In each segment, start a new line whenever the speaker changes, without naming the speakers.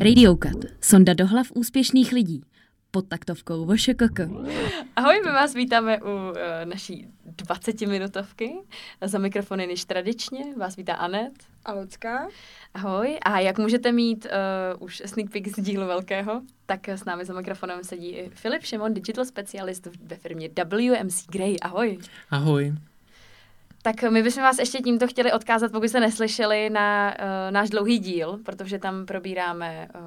Radiokat. Sonda do hlav úspěšných lidí. Pod taktovkou VŠKK.
Ahoj, my vás vítáme u eh, naší 20-minutovky. Za mikrofony než tradičně. Vás vítá Anet.
A Lucka?
Ahoj. A jak můžete mít uh, už sneak peek z dílu velkého, tak s námi za mikrofonem sedí i Filip Šimon, digital specialist v- ve firmě WMC Grey. Ahoj.
Ahoj.
Tak my bychom vás ještě tímto chtěli odkázat, pokud jste neslyšeli, na uh, náš dlouhý díl, protože tam probíráme uh,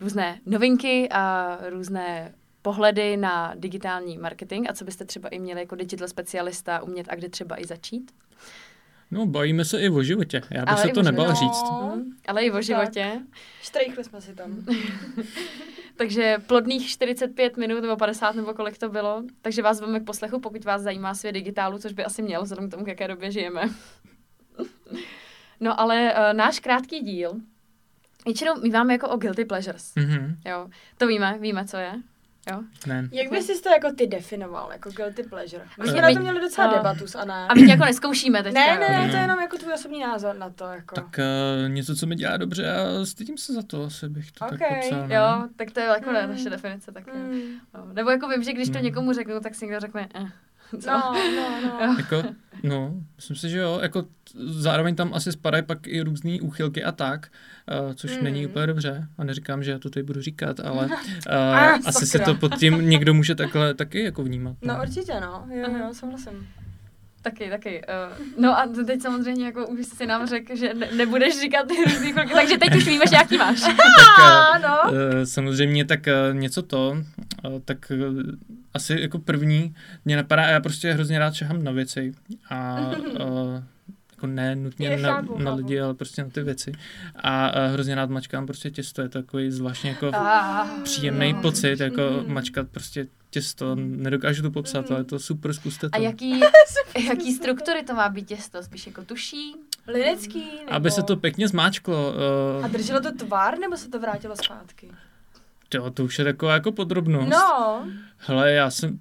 různé novinky a různé pohledy na digitální marketing a co byste třeba i měli jako digital specialista umět a kde třeba i začít.
No, bavíme se i o životě. Já bych
Ale
se
i
to
o
nebal
životě.
říct.
No,
Mhm. Ale i o životě. Tak.
Štrejchli jsme si tam.
Takže plodných 45 minut nebo 50 nebo kolik to bylo. Takže vás veme k poslechu, pokud vás zajímá svět digitálu, což by asi mělo vzhledem k tomu, k jaké době žijeme. no ale uh, náš krátký díl většinou míváme jako o guilty pleasures.
Mhm,
Jo, to víme, víme, co je.
ne.
Jak bys si to jako ty definoval, jako guilty pleasure? My jsme
Eh,
na
my-
to měli docela
eh,
debatu s Aná.
A my tě jako neskoušíme teďka.
Ne, ne, ne,
jo.
to je jenom jako tvůj osobní názor na to, jako.
Mm. Tak eh, něco, co mi dělá dobře a stydím se za to, asi bych to tak
Okej,
popsal. ne?
Jo, tak to je jako
Mm.
naše definice taky.
Mm.
No. Nebo jako vím, že když to
Mm.
někomu řeknu, tak si někdo řekne, eh, co?
No, no, no.
Jako, no, myslím si, že jo. Jako, t- zároveň tam asi spadají pak i různé úchylky a tak, eh, což
Hmm.
Mhm.
není úplně dobře. A neříkám, že já to tady budu říkat, ale eh,
Ah,
asi se
sakra.
to pod tím někdo může takhle taky jako vnímat.
No určitě, no. Jo,
Mhm.
jo, souhlasím.
Taky, taky. Uh, no a teď samozřejmě jako už jsi nám řekl, že ne- nebudeš říkat ty různý kroky, takže teď už víme, že jaký máš.
Tak, eh,
Ano.
Eh, samozřejmě tak eh, něco to, eh, tak eh, asi jako první mě napadá, já prostě hrozně rád šahám na věci a eh, jako ne nutně
Je,
na,
chápu,
na
chápu.
lidi, ale prostě na ty věci a eh, hrozně rád mačkám prostě těsto, je to takový zvláštně jako
Ah.
příjemný
No.
pocit, jako
Mhm.
mačkat prostě těsto, nedokážu to popsat,
Mhm.
ale je to super, zkuste to.
A jaký, jaký struktury to má být těsto? Spíš jako tuší?
Lidecký, nebo...
Aby se to pěkně zmáčklo, eh,
A drželo to tvar, nebo se to vrátilo zpátky?
jo, to už je taková jako podrobnost.
No.
Hele, já jsem,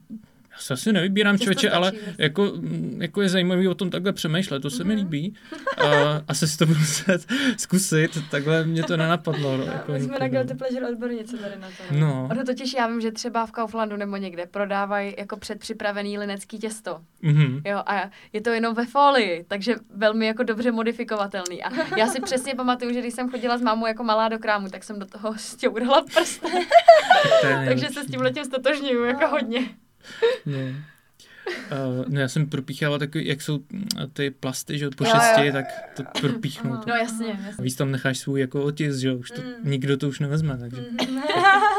já se asi nevybírám
Těsto
člověče,
stačí
ale
vlastně.
jako, mm, jako je zajímavý o tom takhle přemýšlet, to se mi
Mhm.
líbí. A asi si to budu muset zkusit, takhle mě to nenapadlo. No, jako
My jsme na
nikdy.
guilty pleasure odbornice tady na to.
No,
Ono totiž já vím, že třeba v Kauflandu nebo někde prodávají jako předpřipravený linecký těsto.
mhm.
Jo, a je to jenom ve folii, takže velmi jako dobře modifikovatelný. A já si přesně pamatuju, že když jsem chodila s mámou jako malá do krámu, tak jsem do toho stěurala prst,
to
takže
je nejlepší.
se s tím letím stotožňuju jako hodně.
No. Uh, no já jsem propíchával takový, jak jsou mm, ty plasty, že jo, po
Jo, jo.
šesti, tak to propíchnu. To.
No jasně, jasně.
Víc tam necháš svůj jako otisk, že jo, už to,
Mm.
nikdo to už nevezme, takže.
Mhm.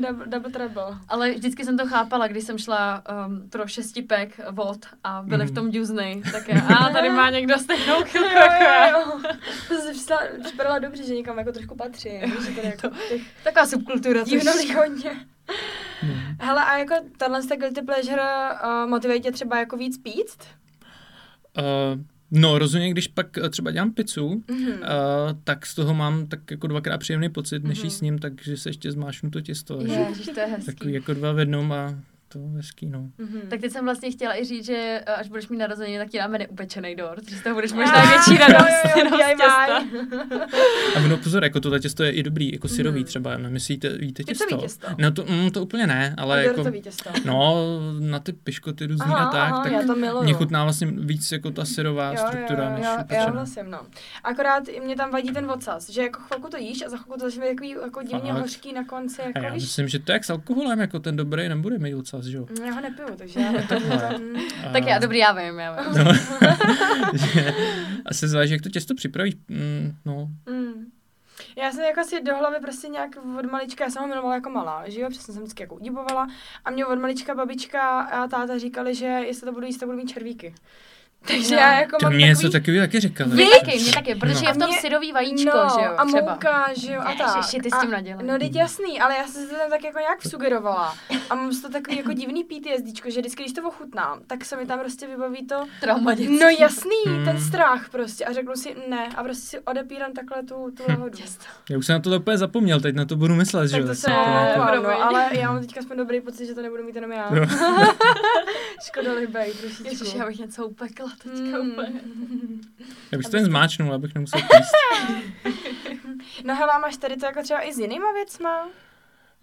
double, double trouble.
Ale vždycky jsem to chápala, když jsem šla um, pro šestipek vod a byly
Mhm.
v tom džuzny, tak já, a tady má někdo stejnou chvilku
Jo,
jako
jo,
já.
jo. To jsi přišla- připadala dobře, že někam jako trošku patří. že tady jako těch
Taková subkultura, to
divných hodně.
No.
Hele, a jako tahle z té guilty pleasure uh, motivuje tě třeba jako víc pít?
Uh, no rozhodně, když pak eh, třeba dělám pizzu,
Mhm.
Uh, tak z toho mám tak jako dvakrát příjemný pocit, než jí
Mhm.
s ním, takže se ještě zmášnu to těsto. že?
Ježiš, to je
Takový
hezký.
jako dva v jednom a to je hezký, no.
Mhm.
Tak teď jsem vlastně chtěla i říct, že eh, až budeš mít narozeniny, tak ti dáme neupečený dort, že z toho budeš
Ah,
možná větší radost.
jo, jo,
jenom z
DIY.
těsta.
A ono pozor, jako tohle těsto je i dobrý, jako syrový
Mhm.
třeba, no myslíte, víte těsto?
Picový těsto.
No to, mm, to úplně ne, ale jako,
Dortový těsto.
no na ty piškoty různý a tak,
aha,
tak
já to miluju.
mě chutná vlastně víc jako ta syrová struktura,
jo,
než
jo, já
upečená.
hlasím, no. Akorát i mě tam vadí ten ocas, že jako chvilku to jíš a za chvilku to začne být takový jako divně
Fakt?
hořký na konci,
A
jako
já
víš,
myslím, že to je jak s alkoholem, jako ten dobrý nebude mít ocas, že jo?
Mm, já ho nepiju, takže já Mm.
A-
Tak já, dobrý, já vím, já vím.
No, že asi záleží, jak to těsto připravíš. Mm, no,
Mm. Já jsem jako si do hlavy prostě nějak od malička, já jsem ho milovala jako malá, že jo, přesně jsem vždycky jako udibovala a mě od malička babička a táta říkali, že jestli to budu jíst, tak budu mít červíky. Takže
No.
já jako
to
mám
mě něco
takový...
takový taky říkali.
Mě taky, mě taky, protože
No.
je v tom
A mě-
syrový vajíčko,
no,
že jo,
a
třeba.
mouka, že jo, a tak.
Ježiši, ty s
A-
tím nadělej.
No, teď jasný, ale já jsem se to tam tak jako nějak sugerovala. A mám z toho takový jako divný PTSD, že vždycky, když to ochutnám, tak se mi tam prostě vybaví to,
Trauma dětství.
no jasný,
Hmm.
ten strach prostě. A řeknu si ne a prostě si odepírám takhle tu, tu lehodu.
Těsto.
Já už jsem na to úplně zapomněl, teď na to budu myslet, že
Tak
jo.
to
tak
se
na to jako-
ne-
máte.
no,
jako promiň.
no, ale já mám teďka aspoň dobrý pocit, že to nebudu mít jenom já.
Jo.
Škoda libej, trošičku.
Ježiš, já bych něco upekla teďka
Mm.
úplně.
Já bych to jen zmáčnul, abych nemusel píst.
No hele, a máš tady to jako třeba i s jinýma věcma?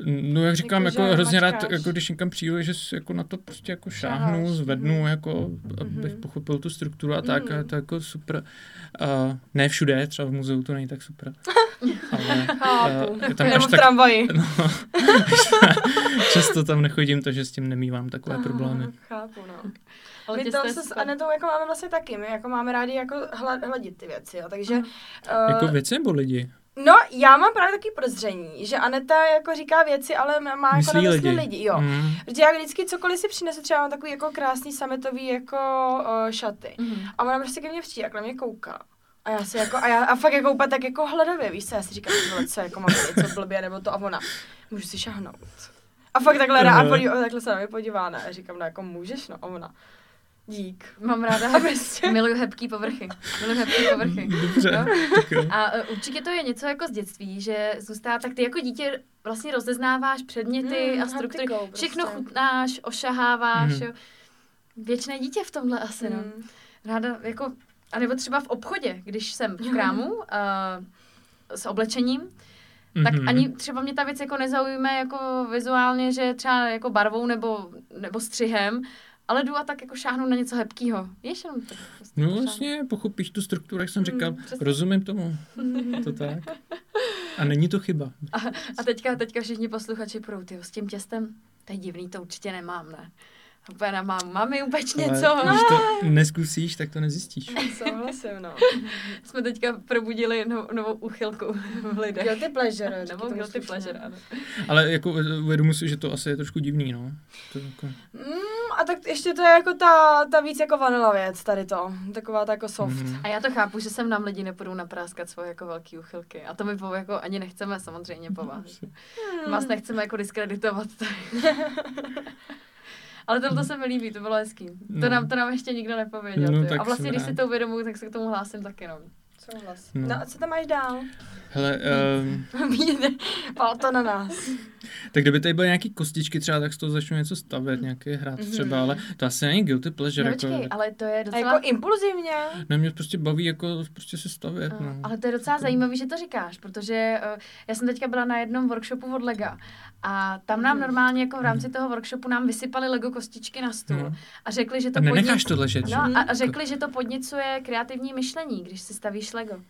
No jak říkám,
Jakože
jako, hrozně rád,
mačkáš.
jako když někam přijdu, že si jako na to prostě jako
Šaháš,
šáhnu,
mhm.
zvednu, jako abych
Mhm.
pochopil tu strukturu a tak,
Mhm.
a to je jako super. A ne všude, třeba v muzeu to není tak super. Ale
Chápu.
eh, je tam až
Nebo v
tak
tramvaji.
No, často tam nechodím, takže s tím nemývám takové problémy.
Chápu, no.
Ale
My
tě
to
jste
se s
super.
Anetou jako máme vlastně taky, my jako máme rádi jako hla- hladit ty věci, jo, takže...
Mhm.
eh,
Jako věci nebo lidi?
No, já mám právě taky prozření, že Aneta jako říká věci, ale má jako
Myslí
na
lidi.
mysli lidi, jo.
Mm.
Protože já vždycky cokoliv si přinesu, třeba mám takový jako krásný sametový jako uh, šaty.
Mhm.
A ona prostě ke mně přijde, jak na mě kouká. A já si jako, a, já, a fakt jako úplně tak jako hledavě, víš co, já si říkám, tohle co, jako mám něco blbě, nebo to a ona, můžu si šahnout. A fakt takhle,
Aha.
a podí, a takhle se na mě podívá, ne, a říkám, no jako můžeš, no, a ona, dík.
Mám ráda
A prostě,
Miluju hebký povrchy. Miluju hebký povrchy.
Dobře,
No.
tak jo.
A e, určitě to je něco jako z dětství, že zůstává, tak ty jako dítě vlastně rozeznáváš předměty
Mm,
a struktury.
haptikou prostě.
Všechno chutnáš, ošaháváš.
Mhm.
Mm. Věčné dítě v tomhle asi, no.
Mm.
Ráda jako, a nebo třeba v obchodě, když jsem v krámu uh, s oblečením, tak
Mhm.
ani třeba mě ta věc jako nezaujme jako vizuálně, že třeba jako barvou nebo, nebo střihem, ale jdu a tak jako šáhnu na něco hebkýho. Víš, jenom to. prostě
No
šáhnu.
vlastně pochopíš tu strukturu, jak jsem říkal.
Mm, přesně. Hmm.
Rozumím tomu. To tak. A není to chyba.
A teďka, teďka všichni posluchači budou, tyjo, s tím těstem, to je divný, to určitě nemám, ne? Úplně nemám, mami, upeč něco.
Ale když to neskusíš, tak to nezjistíš.
Souhlasím, no.
Jsme teďka probudili no, novou uchylku v lidech.
Guilty pleasure.
Nebo guilty pleasure, ano.
Ale jako eh, uvědomu si, že to asi je trošku divný, no. To je jako...
Mm, a tak ještě to je jako ta, ta víc jako vanilla věc tady to. Taková ta jako soft.
Mhm.
A já to chápu, že sem nám lidi nepůjdou napráskat svoje jako velký uchylky. A to my po, jako ani nechceme samozřejmě po vás. Vás nechceme jako diskreditovat. Ale tohle se mi líbí, to bylo hezký. To
No.
nám, to nám ještě nikdo nepověděl.
No,
No,
tak
a vlastně,
jsem
když
rád.
si to uvědomuji, tak se k tomu hlásím taky. No.
Souhlas.
No.
No. no a co tam máš dál?
Hele, eh,
Vidíte, pal to na nás.
tak kdyby tady byly nějaký kostičky třeba, tak z toho začnu něco stavět, nějaký hrát
Mhm.
třeba, ale to asi není guilty pleasure.
No,
jako,
počkej, ale to je
A
docela...
jako impulzivně.
Ne, mě prostě baví jako prostě se stavět,
A,
no.
Eh, Ale to je docela zajímavé, že to říkáš, protože eh, já jsem teďka byla na jednom workshopu od Lega a tam nám
Mhm.
normálně jako v rámci toho workshopu nám vysypali Lego kostičky na stůl
No.
a řekli, že
A
to
nenecháš to ležet, že?
No, a- a řekli, že to podněcuje kreativní myšlení, když si stavíš Lego.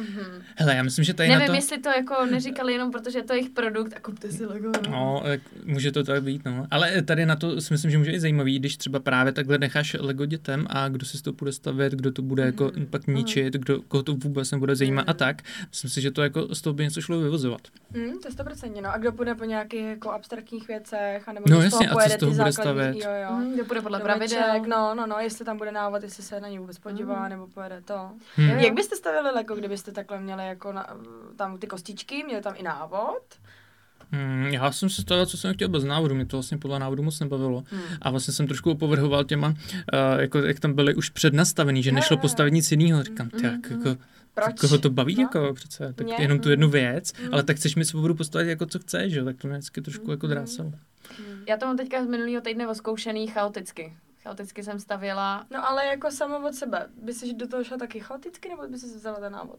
Mhm.
Hele, já myslím, že tady
Nevím,
na to...
jestli to jako neříkali jenom, protože je to jejich produkt a kupte si Lego.
No, tak může to tak být, no. Ale tady na to si myslím, že může i zajímavý, když třeba právě takhle necháš Lego dětem a kdo si to bude stavět, kdo to bude jako pak ničit, kdo, koho to vůbec nebude zajímat a tak. Myslím si, že to jako z toho by něco šlo vyvozovat.
Mm, to je stoprocentně, no. A kdo půjde po nějakých jako abstraktních věcech, anebo
No
kdo z
jasně, a co
pojede
z toho
ty
bude
základní-
stavět?
Jo, jo.
Mm, to bude podle
Domeček,
pravidel.
No, no, no, jestli tam bude návod, jestli se na něj vůbec podívá,
Mm.
nebo pojede to.
Hm.
Jo,
Jak byste stavili Lego, kdybyste takhle měli jako na, tam ty kostičky, měli tam i návod?
Mm, já jsem si stavil, co jsem chtěl bez návodu, mě to vlastně podle návodu moc nebavilo. A vlastně jsem trošku opovrhoval těma, uh, jako jak tam byly už přednastavený, že
Jo,
nešlo
jo, jo.
postavit nic jiného. Říkám,
Mhm,
tak
mhm.
jako,
Proč?
koho to baví
No.
jako přece, tak
Mě?
jenom tu jednu věc,
Mhm.
ale tak chceš mi svobodu postavit jako co chceš, že? jo, tak to mě vždycky trošku jako
Mhm.
drásalo.
Mm.
Já to mám teďka z minulého týdne oskoušený chaoticky. Chaoticky jsem stavěla
No ale jako samo od sebe. By jsi do toho šla taky chaoticky, nebo by jsi vzala ten návod?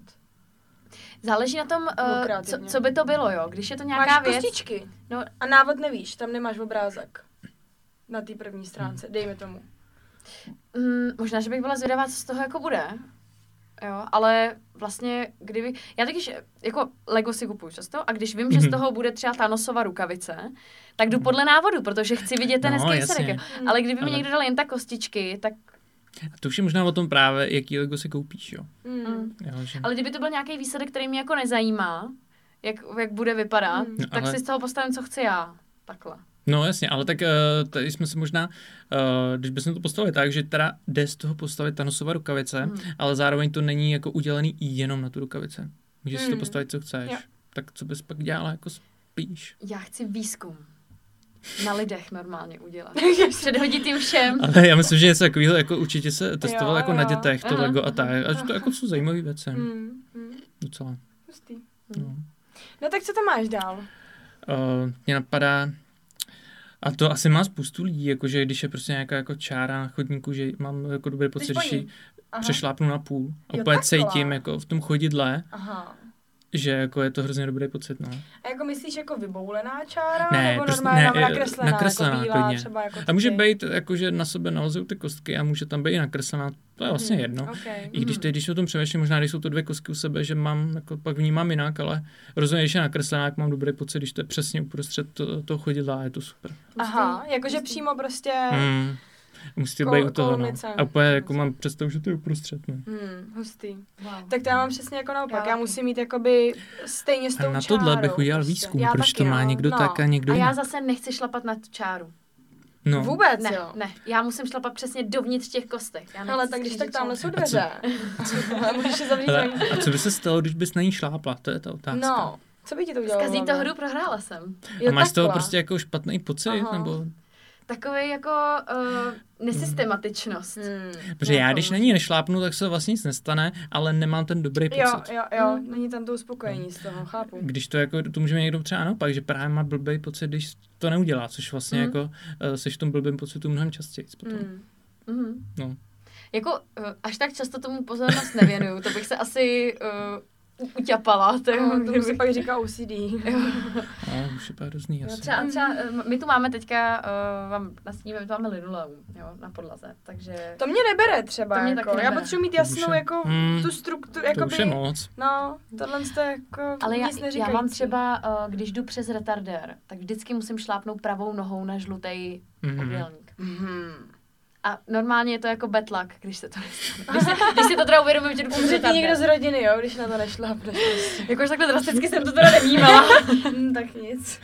Záleží na tom,
Nebo
eh, co,
kreativně.
co by to bylo, jo. Když je to nějaká
máš
věc,
kostičky
No.
no. a návod nevíš, tam nemáš obrázek. Na té první stránce, dejme tomu.
mm, možná, že bych byla zvědavá, co z toho jako bude. Jo, ale vlastně, kdyby... Já totiž, eh, jako Lego si kupuju často a když vím, že
Mhm.
z toho bude třeba Thanosova rukavice, tak jdu podle návodu, protože chci vidět ten
No,
hezký
jasně.
výsledek. jo. Ale kdyby mi
Ale-
někdo dal jen tak kostičky, tak...
A to už je možná o tom právě, jaký Lego si koupíš, jo.
Mm.
jo že...
Ale kdyby to byl nějaký výsledek, který mě jako nezajímá, jak, jak bude vypadat,
Mm.
No,
tak
ale-
si z toho postavím, co chci já. Takhle.
No jasně, ale tak uh, tady jsme se možná, uh, když bychom to postavili tak, že teda jde z toho postavit Thanosova rukavice,
Mm.
Mhm.
ale zároveň to není jako udělaný jenom na tu rukavice. Můžeš si to
Mhm.
postavit, co chceš.
Jo.
Tak co bys pak dělala jako spíš?
Já chci výzkum. Na lidech normálně udělat. Předhodit jim všem.
Ale já myslím, že něco takového jako určitě se testovalo
Jo,
jako na
jo.
dětech, to
Aha,
Lego a
aha,
tak. A že to jako jsou zajímavé věci.
Mm. Mm.
Docela.
Hustý.
No.
No tak co tam máš dál?
Uh, mě napadá, a to asi má spoustu lidí, jakože když je prostě nějaká jako čára na chodníku, že mám jako dobrý
Jdeš
pocit,
po
že ji
ní? Aha.
přešlápnu na půl a
Jo,
úplně
takhle.
cítím jako v tom chodidle,
Aha.
že jako je to hrozně dobrý pocit, no.
A jako myslíš jako vyboulená čára?
Ne,
nebo
prostě-
normálně
ne,
tam
eh,
nakreslená, nakreslená
nakreslená,
jako bílá,
klidně.
třeba jako
A může
ty.
být, jakože na sebe nalezou ty kostky a může tam být i nakreslená, to
Mhm.
je
Mm.
vlastně jedno.
Okay.
I když teď, když o tom přemýšlím, možná když jsou to dvě kostky u sebe, že mám, jako pak vnímám jinak, ale rozhodně, když je nakreslená, jak mám dobrý pocit, když to je přesně uprostřed to, toho chodidla a je to super.
Aha, jakože přímo prostě...
Mm. Musíte
Kol-
být u toho, no.
kolonice.
A úplně jako mám představu, že to je uprostřed, no.
Hmm, hustý.
Wow.
Tak to já mám přesně jako naopak.
Já
Já
taky.
musím mít jakoby stejně s tou
A na
čárou,
tohle bych udělal
prostě.
výzkum,
Já
proč
taky,
to má
no.
někdo
no.
tak a někdo
A já
jinak.
zase nechci šlapat na tu čáru.
No.
Vůbec,
Ne,
jo.
ne, já musím šlapat přesně dovnitř těch kostek. Já
Ale
nechci
tak když tak
skřížit
tamhle
čáru.
jsou dveře. Ale Můžeš se zavřít
Hele,
venku.
a co by se stalo, když bys na ní šlápla? To je ta otázka.
No, co by ti to udělalo?
Zkazí to
Lana?
hru, prohrála jsem.
Jo,
a máš z toho
takhle.
prostě jako špatný pocit?
Aha. No,
Nebo...
Takový jako uh, nesystematičnost.
Hmm.
Protože já, když na ní nešlápnu, tak se vlastně nic nestane, ale nemám ten dobrý pocit.
Jo, jako- jo, jo,
Hmm.
není tam to uspokojení z toho, chápu.
Když to jako, to můžeme někdo třeba naopak, že právě má blbý pocit, když to neudělá, což vlastně
Mm.
jako uh, seš v tom blbém pocitu mnohem častěji potom.
Hmm.
Mm-hmm.
No.
Jako eh, až tak často tomu pozornost nevěnuju, to bych se asi uh, uťapala. To,
Jo, to se
kdybych-
pak říká OCD.
A už je to hrozný
No,
asi.
třeba, třeba, eh, my tu máme teďka, uh, vám nastíníme, my tu máme linoleum, jo, na podlaze, takže...
To mě nebere třeba,
To mě
jako.
taky
já
nebere.
potřebuji mít
To už
jasnou,
je-
jako
Hmm.
tu strukturu,
To
jako
už je
by,
moc.
no, tohle jste jako
Ale já,
nic
já
neříkající.
mám třeba, eh, když jdu přes retardér, tak vždycky musím šlápnout pravou nohou na žlutý
Mm.
obdélník.
Mhm.
A normálně je to jako betlak, když se to nestane. Když, se, když si to teda uvědomím, že jdu přes
Umře ti někdo
retardér.
z rodiny, jo, když na to nešlápneš. prostě.
Jakož takhle drasticky jsem to teda nevnímala.
Hm, tak nic.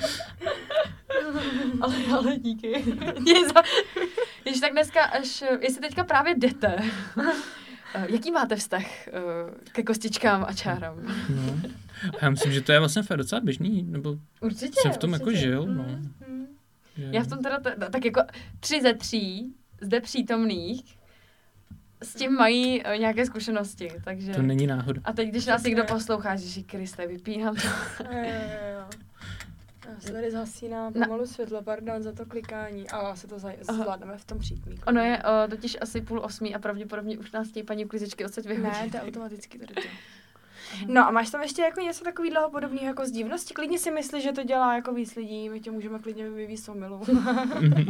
ale, ale díky. Děkuji za... Když tak dneska, až, eh, jestli teďka právě jdete, eh, jaký máte vztah eh, ke kostičkám a čárám?
No. A já myslím, že to je vlastně fakt docela běžný, nebo
Určitě. Mm.
jsem v tom jako žil. No.
Hm.
Že-
Já v tom teda, t- tak jako tři ze tří zde přítomných s tím mají eh, nějaké zkušenosti, takže...
To není náhoda.
A teď, když nás
Přesně.
někdo poslouchá, že Kriste, vypínám to.
Jo, jo, jo. Já se tady zhasíná
Na-
pomalu světlo, pardon za to klikání, ale asi to za-
Aha.
zvládneme v tom přítmíku.
Ono je uh, totiž asi půl osmí a pravděpodobně už nás chtějí paní uklizičky odsaď
Ne,
vyhodit.
to je automaticky tady to. No a máš tam ještě jako něco takového podobného jako z divnosti? Klidně si myslíš, že to dělá jako víc lidí, my tě můžeme klidně vyvíjet somilu.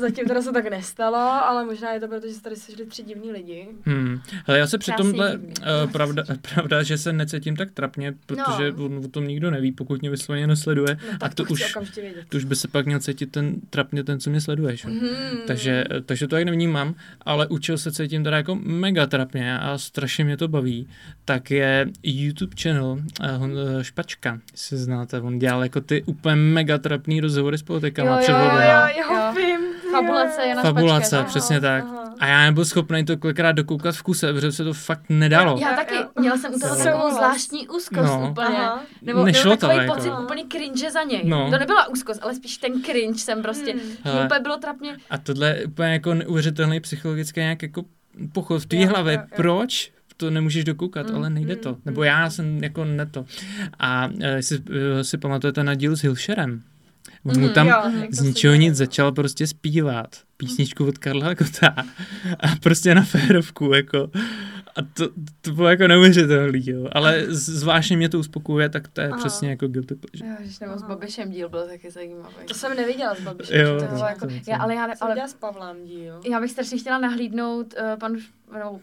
Zatím teda se tak nestalo, ale možná je to proto, že se tady sešli tři divní lidi.
Hmm. Hele, já se při
Krásný
tomhle,
divný.
uh, pravda, pravda, že se necítím tak trapně, protože
No.
no. on o tom nikdo neví, pokud mě vysloveně nesleduje.
No, tak
a to
chci
už,
okamžitě vědět.
to už by se pak měl cítit ten trapně, ten, co mě sleduje. Že?
Mhm.
Hmm.
Takže, eh, takže to jak nevnímám, ale učil se cítím teda jako mega trapně a strašně mě to baví, tak je YouTube channel eh, Hon- eh, Špačka, jestli znáte, on dělal jako ty úplně mega trapný rozhovory s politikama
Jo,
před
jo,
volbama.
Já,
Jo.
já vím. ty
Fabulace
jo.
je na
Fabulace,
špačkách.
Aha,
přesně tak.
aha.
A já nebyl schopný to kolikrát dokoukat v kuse, protože se to fakt nedalo.
Já taky, měla jsem u toho
Jo.
takovou zvláštní úzkost
No.
úplně.
Aha.
Nebo
Nešlo
Nešlo
to,
byl takový
jako.
pocit úplně cringe za něj.
No.
No. To nebyla úzkost, ale spíš ten cringe jsem prostě.
Hmm.
Hmm.
Hele.
Úplně bylo trapně.
A tohle je úplně jako neuvěřitelný psychologický nějak jako pochod v té
Jo,
hlavě.
jo, jo.
Proč? to nemůžeš dokoukat,
Mm,
ale nejde
mm,
to. Nebo já jsem jako ne to. A eh, jestli eh, si pamatujete na díl s Hilšerem, on mu
Mhm,
tam
Mm-hmm, Jo, jak to
z
se
ničeho
děje,
nic
no.
začal prostě zpívat písničku od Karla Kota a prostě na férovku, jako. A to, to bylo jako neuvěřitelný, jo. Ale z- zvláštně mě to uspokojuje, tak to je
Aha.
přesně jako guilty pleasure.
Jo, když nebo s
Aha.
Babišem díl byl taky zajímavý.
To jsem neviděla s Babišem.
Jo,
že
To bylo jako,
to- to-
já, ale já, ne,
jsem
ale
viděla s Pavlem díl.
já bych strašně chtěla nahlídnout uh, panu Š- no,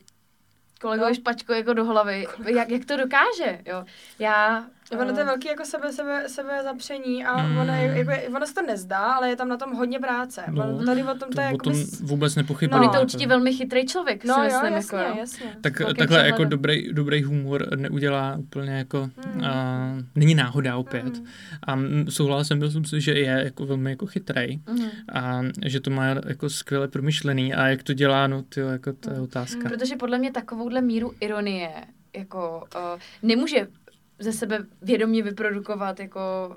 kolegovi
No.
Špačko jako do hlavy, jak, jak to dokáže, jo. Já...
Jo, Ono to
eh,
je velký jako sebe, sebe, sebe zapření a
Mm.
ono, je, jako, je- ono se to nezdá, ale je tam na tom hodně práce.
No.
No. Tady o tom to,
To
je
o
jako
tom
bys...
vůbec nepochybuji.
No.
On je
Jako-
to určitě velmi chytrý člověk,
No
si
jo,
myslím,
jasně,
jako, jo.
jasně.
Tak,
velkým
takhle jako
přehledem.
dobrý, dobrý humor neudělá úplně jako,
Hmm.
hmm. a, není náhoda opět. Hmm.
Mm.
A m, souhlasím, myslím si, že je jako velmi jako chytrej
Mhm.
a že to má jako skvěle promyšlený a jak to dělá, no tyjo, jako to
Hmm.
je otázka.
Protože podle mě takovouhle míru ironie jako uh, nemůže ze sebe vědomě vyprodukovat jako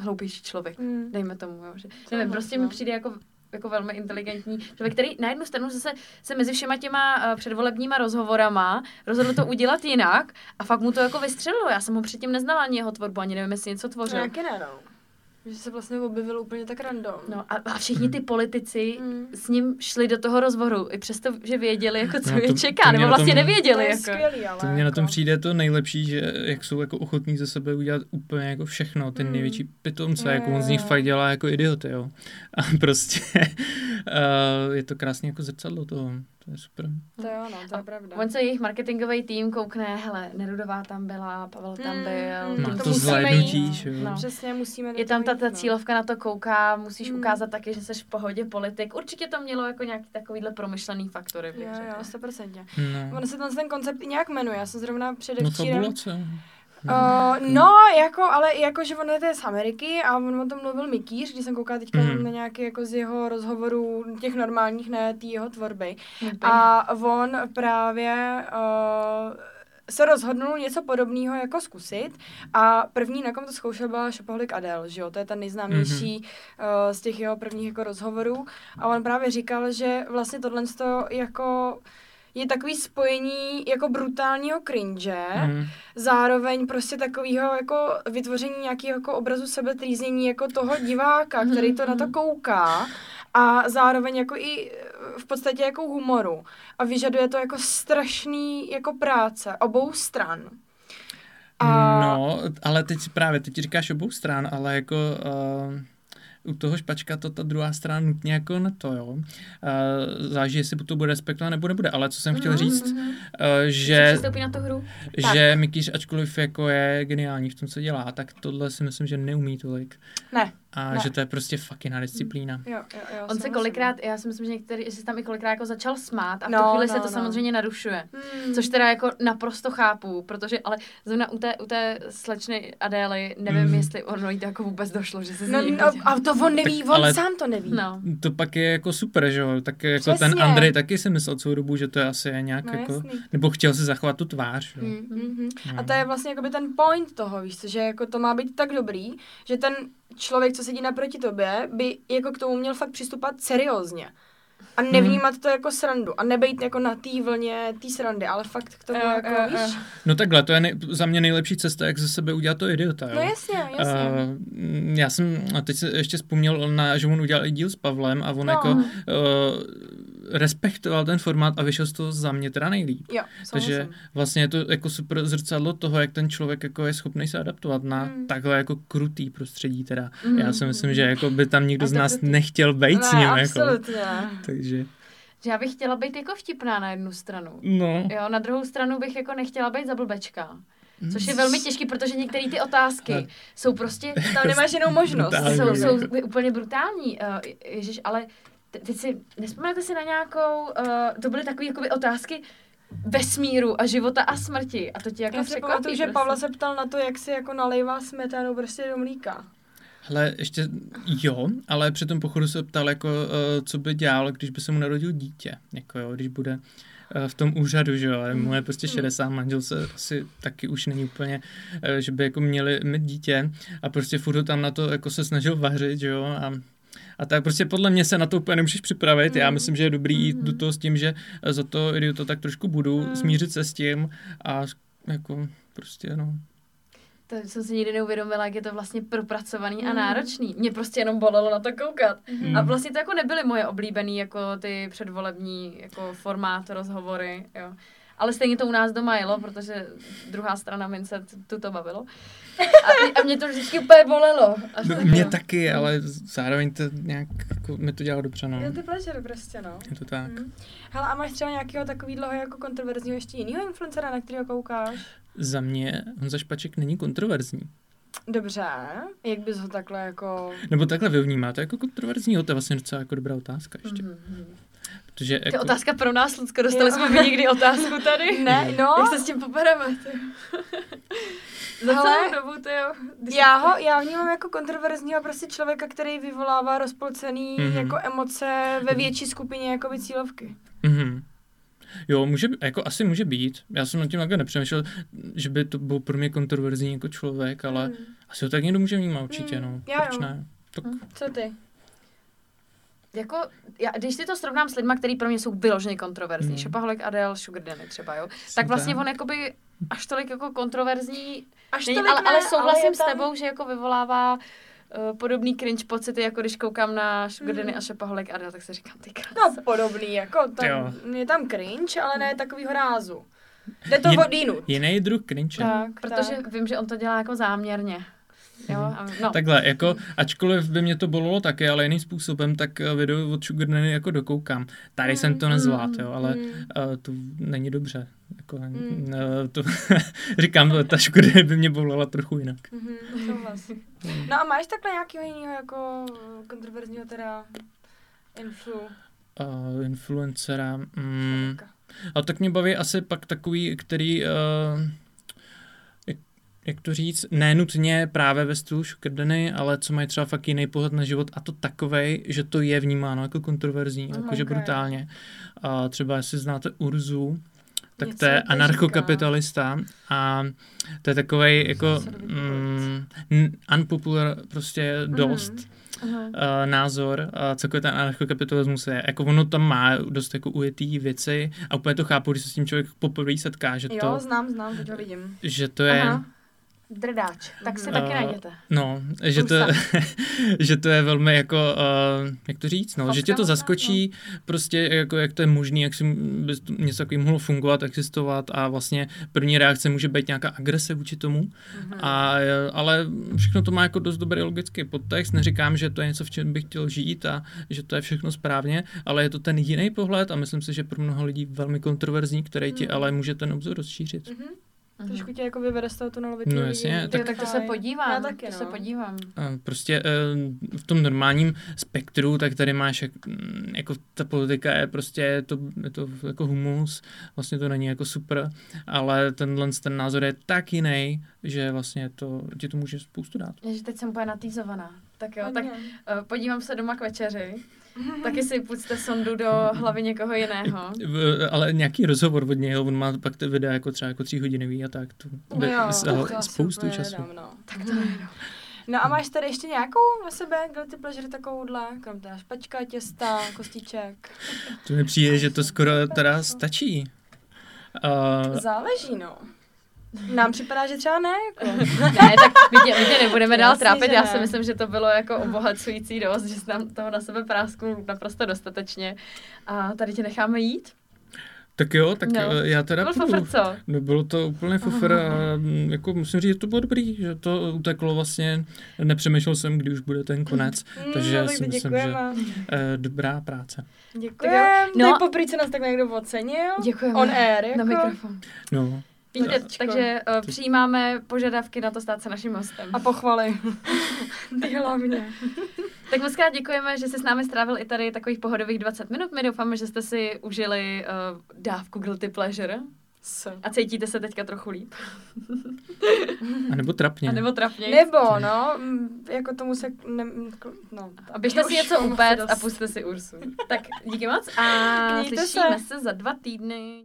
hloupější člověk.
Mm.
Dejme tomu, jo, že nevím, prostě mi
no.
přijde jako jako velmi inteligentní člověk, který na jednu stranu zase se mezi všema těma uh, předvolebníma rozhovorama rozhodl to udělat jinak a fakt mu to jako vystřelilo. Já jsem ho předtím neznala ani jeho tvorbu, ani nevím, jestli něco
No,
tvořil.
Jaký ne, no. Že se vlastně objevil úplně tak random.
No a, a všichni ty politici
Mm.
s ním šli do toho rozhovoru, i přesto, že věděli, jako co
No, to-
je
to
čeká,
mě
nebo
na
vlastně
tom-
to
nevěděli.
je
Jako.
skvělý, ale
To mě na tom
jako-
přijde to nejlepší, že jak jsou jako ochotní ze sebe udělat úplně jako všechno, ty
Mm.
největší pitomce, jako on z
Jo,
nich
jo.
fakt dělá jako idioty, jo. A prostě eh, je to krásně jako zrcadlo toho, to je super.
To jo, no, to je pravda.
On se jejich marketingový tým koukne, hele, Nerudová tam byla, Pavel tam
Mm,
byl.
mm,
No,
to
to
musíme
zhlédnutí,
jít,
že jo.
no.
Přesně, musíme do
Je tam
toho
ta,
jít,
ta
no.
cílovka na to kouká, musíš
Mm.
ukázat taky, že jsi v pohodě politik. Určitě to mělo jako nějaký takovýhle promyšlený faktory, bych
Jo,
řekla.
jo, 100%.
No,
Ono se ten, ten koncept i nějak jmenuje, já jsem zrovna
no
předevčírem...
fabulace.
Uh, no, jako, ale jako, že on je z Ameriky a on o tom mluvil Mikýř, když jsem koukala teďka
Mhm.
mm. na nějaký jako z jeho rozhovorů, těch normálních, ne té jeho tvorby.
Úplně.
A on právě uh, se rozhodnul něco podobného jako zkusit a první, na kom to zkoušel, byla Šopoholik Adel, že jo, to je ten nejznámější mm-hmm. uh, z těch jeho prvních jako rozhovorů a on právě říkal, že vlastně tohle jako je takový spojení jako brutálního cringe, mm
Mm.
zároveň prostě takového jako vytvoření nějakého jako obrazu sebetrýznění jako toho diváka,
Mhm,
který to na to
mhm.
kouká a zároveň jako i eh, v podstatě jako humoru a vyžaduje to jako strašný jako práce obou stran. A
No, ale teď právě, teď říkáš obou stran, ale jako uh, u toho špačka to ta druhá strana nutně jako na to, jo. Uh, záleží, jestli to bude respektovat nebo nebude, ale co jsem chtěl
Mhm,
Mm-hmm.
říct, uh,
mhm. Že
že,
přistoupí na tu hru? tak.
že Mikýř, ačkoliv jako je geniální v tom, co dělá, tak tohle si myslím, že neumí tolik.
Ne,
A
ne.
že to je prostě fucking jiná disciplína.
jo, jo, jo,
On se
souhlasím.
kolikrát, já si myslím, že některý, že se tam i kolikrát jako začal smát a v tu
No,
chvíli
no,
se to
no.
samozřejmě narušuje.
Hmm.
Což teda jako naprosto chápu, protože ale zrovna u té, u té slečny Adély nevím,
Mhm.
jestli ono jí to jako vůbec došlo, že se z
Hmm. No,
ní
no, a to on neví,
Tak
on
ale-
sám to neví.
no.
To pak je jako super, že jo. Tak jako
Přesně.
ten Andrej taky si myslel celou dobu, že to je asi nějak
No,
jako...
jasný.
Nebo chtěl si zachovat tu tvář, jo.
Mm, mhm. A
No.
to je vlastně jakoby ten point toho, víš co, že jako to má být tak dobrý, že ten člověk, co sedí naproti tobě, by jako k tomu měl fakt přistupovat seriózně. A nevnímat to jako srandu. A nebejt jako na té vlně té srandy, ale fakt k tomu
Jo,
jako,
jo, jo.
víš?
No takhle, to je nej, za mě nejlepší cesta, jak ze sebe udělat to idiota, jo.
No jasně, jasně.
Eh, m, já jsem a teď se ještě vzpomněl, na, že on udělal i díl s Pavlem a on
No.
jako uh, respektoval ten formát a vyšel z toho za mě teda nejlíp.
jo,
Takže
souhlasím.
vlastně je to jako super zrcadlo toho, jak ten člověk jako je schopný se adaptovat na
Mm.
takhle jako krutý prostředí teda.
Mm.
Já si myslím, že jako by tam nikdo
A
z
Hmm. to
nás
krutý.
nechtěl být s
ne,
ním. Jako.
absolutně.
Takže,
Že já bych chtěla být jako vtipná na jednu stranu.
no.
Jo, na druhou stranu bych jako nechtěla být za blbečka. Což je
Mm.
velmi těžký, protože některé ty
Ale-
otázky jsou prostě,
Tam nemáš jinou možnost.
Tak,
jsou,
jo.
jsou úplně brutální. Eh, Ježiš, ale te- teď si, nespomenete si na nějakou, eh, to byly takové jakoby otázky vesmíru a života a smrti. A to ti jako
Já si
překvapí.
pamatuju, že
prostě.
Pavla se ptal na to, jak si jako nalejvá smetanu prostě do mlíka.
Hele, ještě jo, ale při tom pochodu se ptal, jako, eh, co by dělal, když by se mu narodil dítě, jako jo, když bude eh, v tom úřadu, že jo, ale mu je prostě 60, manžel se asi taky už není úplně, eh, že by jako měli mít dítě a prostě furt ho tam na to jako se snažil vařit, že jo, a a tak prostě podle mě se na to úplně nemůžeš připravit. Já myslím, že je dobrý jít do toho s tím, že eh, za to idiota tak trošku budu, smířit se s tím a jako prostě no.
To jsem si nikdy neuvědomila, jak je to vlastně propracovaný a
Mm.
náročný. Mě prostě jenom bolelo na to koukat.
Mm.
A vlastně to jako nebyly moje oblíbený jako ty předvolební jako formát, rozhovory, jo. Ale stejně to u nás doma jelo, protože druhá strana mince t- tu to bavilo. A, a mě to vždycky úplně bolelo. Až
No,
tak,
mě
jo.
taky, ale zároveň to nějak, jako, mi to dělalo dobře, no.
Je to pleasure prostě, no.
Je to tak.
Mm. Hele, a máš třeba nějakého takového jako kontroverzního ještě jiného influencera, na kterého koukáš?
Za mě Honza Špaček není kontroverzní.
Dobře, jak bys ho takhle jako...
Nebo takhle vy ho vnímáte jako kontroverzního? To je vlastně docela jako dobrá otázka ještě. Mm-hmm.
Mhm.
Protože
To je
jako,
otázka pro nás, Lucko. Dostali
Jo.
jsme mi někdy otázku tady.
Ne, no,
Jak se s tím popereme? ty? Za celou
Hele,
dobu, to jo.
já ho, já vnímám jako kontroverzního prostě člověka, který vyvolává rozpolcený
Mhm.
mm-hmm. jako emoce ve větší skupině jakoby cílovky.
Mm-hmm. Jo, může, jako asi může být. Já jsem nad tím jako nepřemýšlel, že by to byl pro mě kontroverzní jako člověk, ale
Mhm.
Mm.
asi ho tak někdo může vnímat určitě,
Mm,
no.
já
Proč
jo.
ne? Tak,
Co ty?
Jako, já, když si to srovnám s lidma, který pro mě jsou vyloženě kontroverzní,
Hmm.
mm. Šopaholek, Adel, Sugar Daddy třeba, jo, tak
Jsem
vlastně
tam.
on jakoby až tolik jako kontroverzní
Až
není,
tolik
ale,
ne,
ale souhlasím
je
ale s tebou, že jako vyvolává uh, podobný cringe pocity, jako když koukám na
Mhm.
Sugardeny a Šepaholek Adel, tak se říkám, ty krás.
No, podobný, jako
Jo.
tam, je tam cringe, ale ne takovýho rázu. Jde to
Jin-
od jinut.
Jiný druh cringe.
Tak,
Protože vím, že on to dělá jako záměrně. Jo,
Mhm.
a no.
Takhle, jako, ačkoliv by mě to bolelo taky, ale jiným způsobem, tak eh, video od Sugar Nanny jako dokoukám. Tady jsem to nezvlád, jo, ale
Mm.
eh, to není dobře. Jako,
Mm.
eh, to, říkám, ta Sugar Nanny by mě bolala trochu jinak.
Mhm, souhlas. No a máš takhle nějakého jiného jako kontroverzního teda influ?
Uh, influencera. Mm, a tak mě baví asi pak takový, který, uh, jak, jak to říct, ne nutně právě ve stylu šukrdeny, ale co mají třeba fakt jiný pohled na život a to takovej, že to je vnímáno jako kontroverzní,
Aha,
jakože
ok.
brutálně. Uh, třeba jestli znáte Urzu, tak
Něco
to je
mi to
anarchokapitalista a to je takovej jako
se dovedu
mm, n- unpopular prostě dost
Aha.
uh, názor, uh, celkově ten anarchokapitalismus je. Jako ono tam má dost jako ujetý věci a úplně to chápu, když se s tím člověk poprvé setká, že
Jo,
to,
znám, znám, teď ho vidím. Mm-hmm.
že to je,
Aha. Drdáč. Tak si
Mhm.
taky
Eh,
najděte.
no, že to,
Prusa.
že to je velmi jako, uh, jak to říct, no, že tě to
Laskavá,
zaskočí, prostě jako jak to je možný, jak si m- by to- něco takovým mohlo fungovat, existovat a vlastně první reakce může být nějaká agrese vůči tomu, a, eh, ale všechno to má jako dost dobrý logický podtext. Neříkám, že to je něco, v čem bych chtěl žít a že to je všechno správně, ale je to ten jiný pohled a myslím si, že pro mnoho lidí velmi kontroverzní, který ti
Mm.
ale může ten obzor rozšířit.
Mhm.
Mhm.
Trošku tě jako vyvede z toho tunelu.
No jasně,
Ty, tak to se
Fajn.
podívám.
Já taky,
to
no.
se podívám.
A Prostě eh, v tom normálním spektru, tak tady máš, jak- mm, jako ta politika je prostě, je to, je to jako humus, vlastně to není jako super, ale tenhle ten názor je tak jiný, že vlastně to, ti to může spoustu dát.
Ježi, teď jsem úplně natýzovaná. Tak jo, tak
Hodně.
eh, podívám se doma k večeři. Taky si půjďte sondu do hlavy někoho jiného.
V- ale nějaký rozhovor od něho, on má pak ty videa jako třeba jako tříhodinový a tak, to
No
by
Jo,
vzal
to asi
spoustu
úplně
času.
nedám, no. Tak to
Mhm.
No a máš tady ještě nějakou na sebe guilty pleasure takovouhle? Krom teda špačka, těsta, kostiček.
To mi přijde, že to skoro teda stačí. Uh,
Záleží, no. Nám připadá, že třeba ne, jako.
Ne, tak my tě, my tě nebudeme dál
Jasně,
trápit.
že
Já
ne.
si myslím, že to bylo jako obohacující dost, že jsi nám toho na sebe prásknul naprosto dostatečně. A tady tě necháme jít.
tak jo, tak
No.
eh, já teda
Byl
půjdu.
fofrco.
No, bylo to úplně fofr a mm, jako musím říct, že to bylo dobrý, že to uteklo vlastně, nepřemýšlel jsem, kdy už bude ten konec. Takže
Mm. no, tak
si
to
myslím, že
děkujeme.
eh, dobrá práce.
Děkujeme.
No
No.
a-
Tak poprvé se nás tak někdo ocenil.
Děkujeme.
On air,
Na
jako.
mikrofon.
No,
Víte,
Vídečko.
takže eh, přijímáme požadavky na to stát se naším hostem.
A pochvaly. Ty hlavně.
Tak moc krát děkujeme, že jsi s námi strávil i tady takových pohodových 20 minut. My doufáme, že jste si užili uh, dávku guilty pleasure
S.
a cítíte se teďka trochu líp.
a nebo trapně.
A nebo trapněji.
Nebo, no, mm, jako tomu se, ne, no.
A běžte si
Už
něco
mám asi
upéct
dost.
a puste si Ursu. Tak díky moc a
Mějte se.
slyšíme se za dva týdny.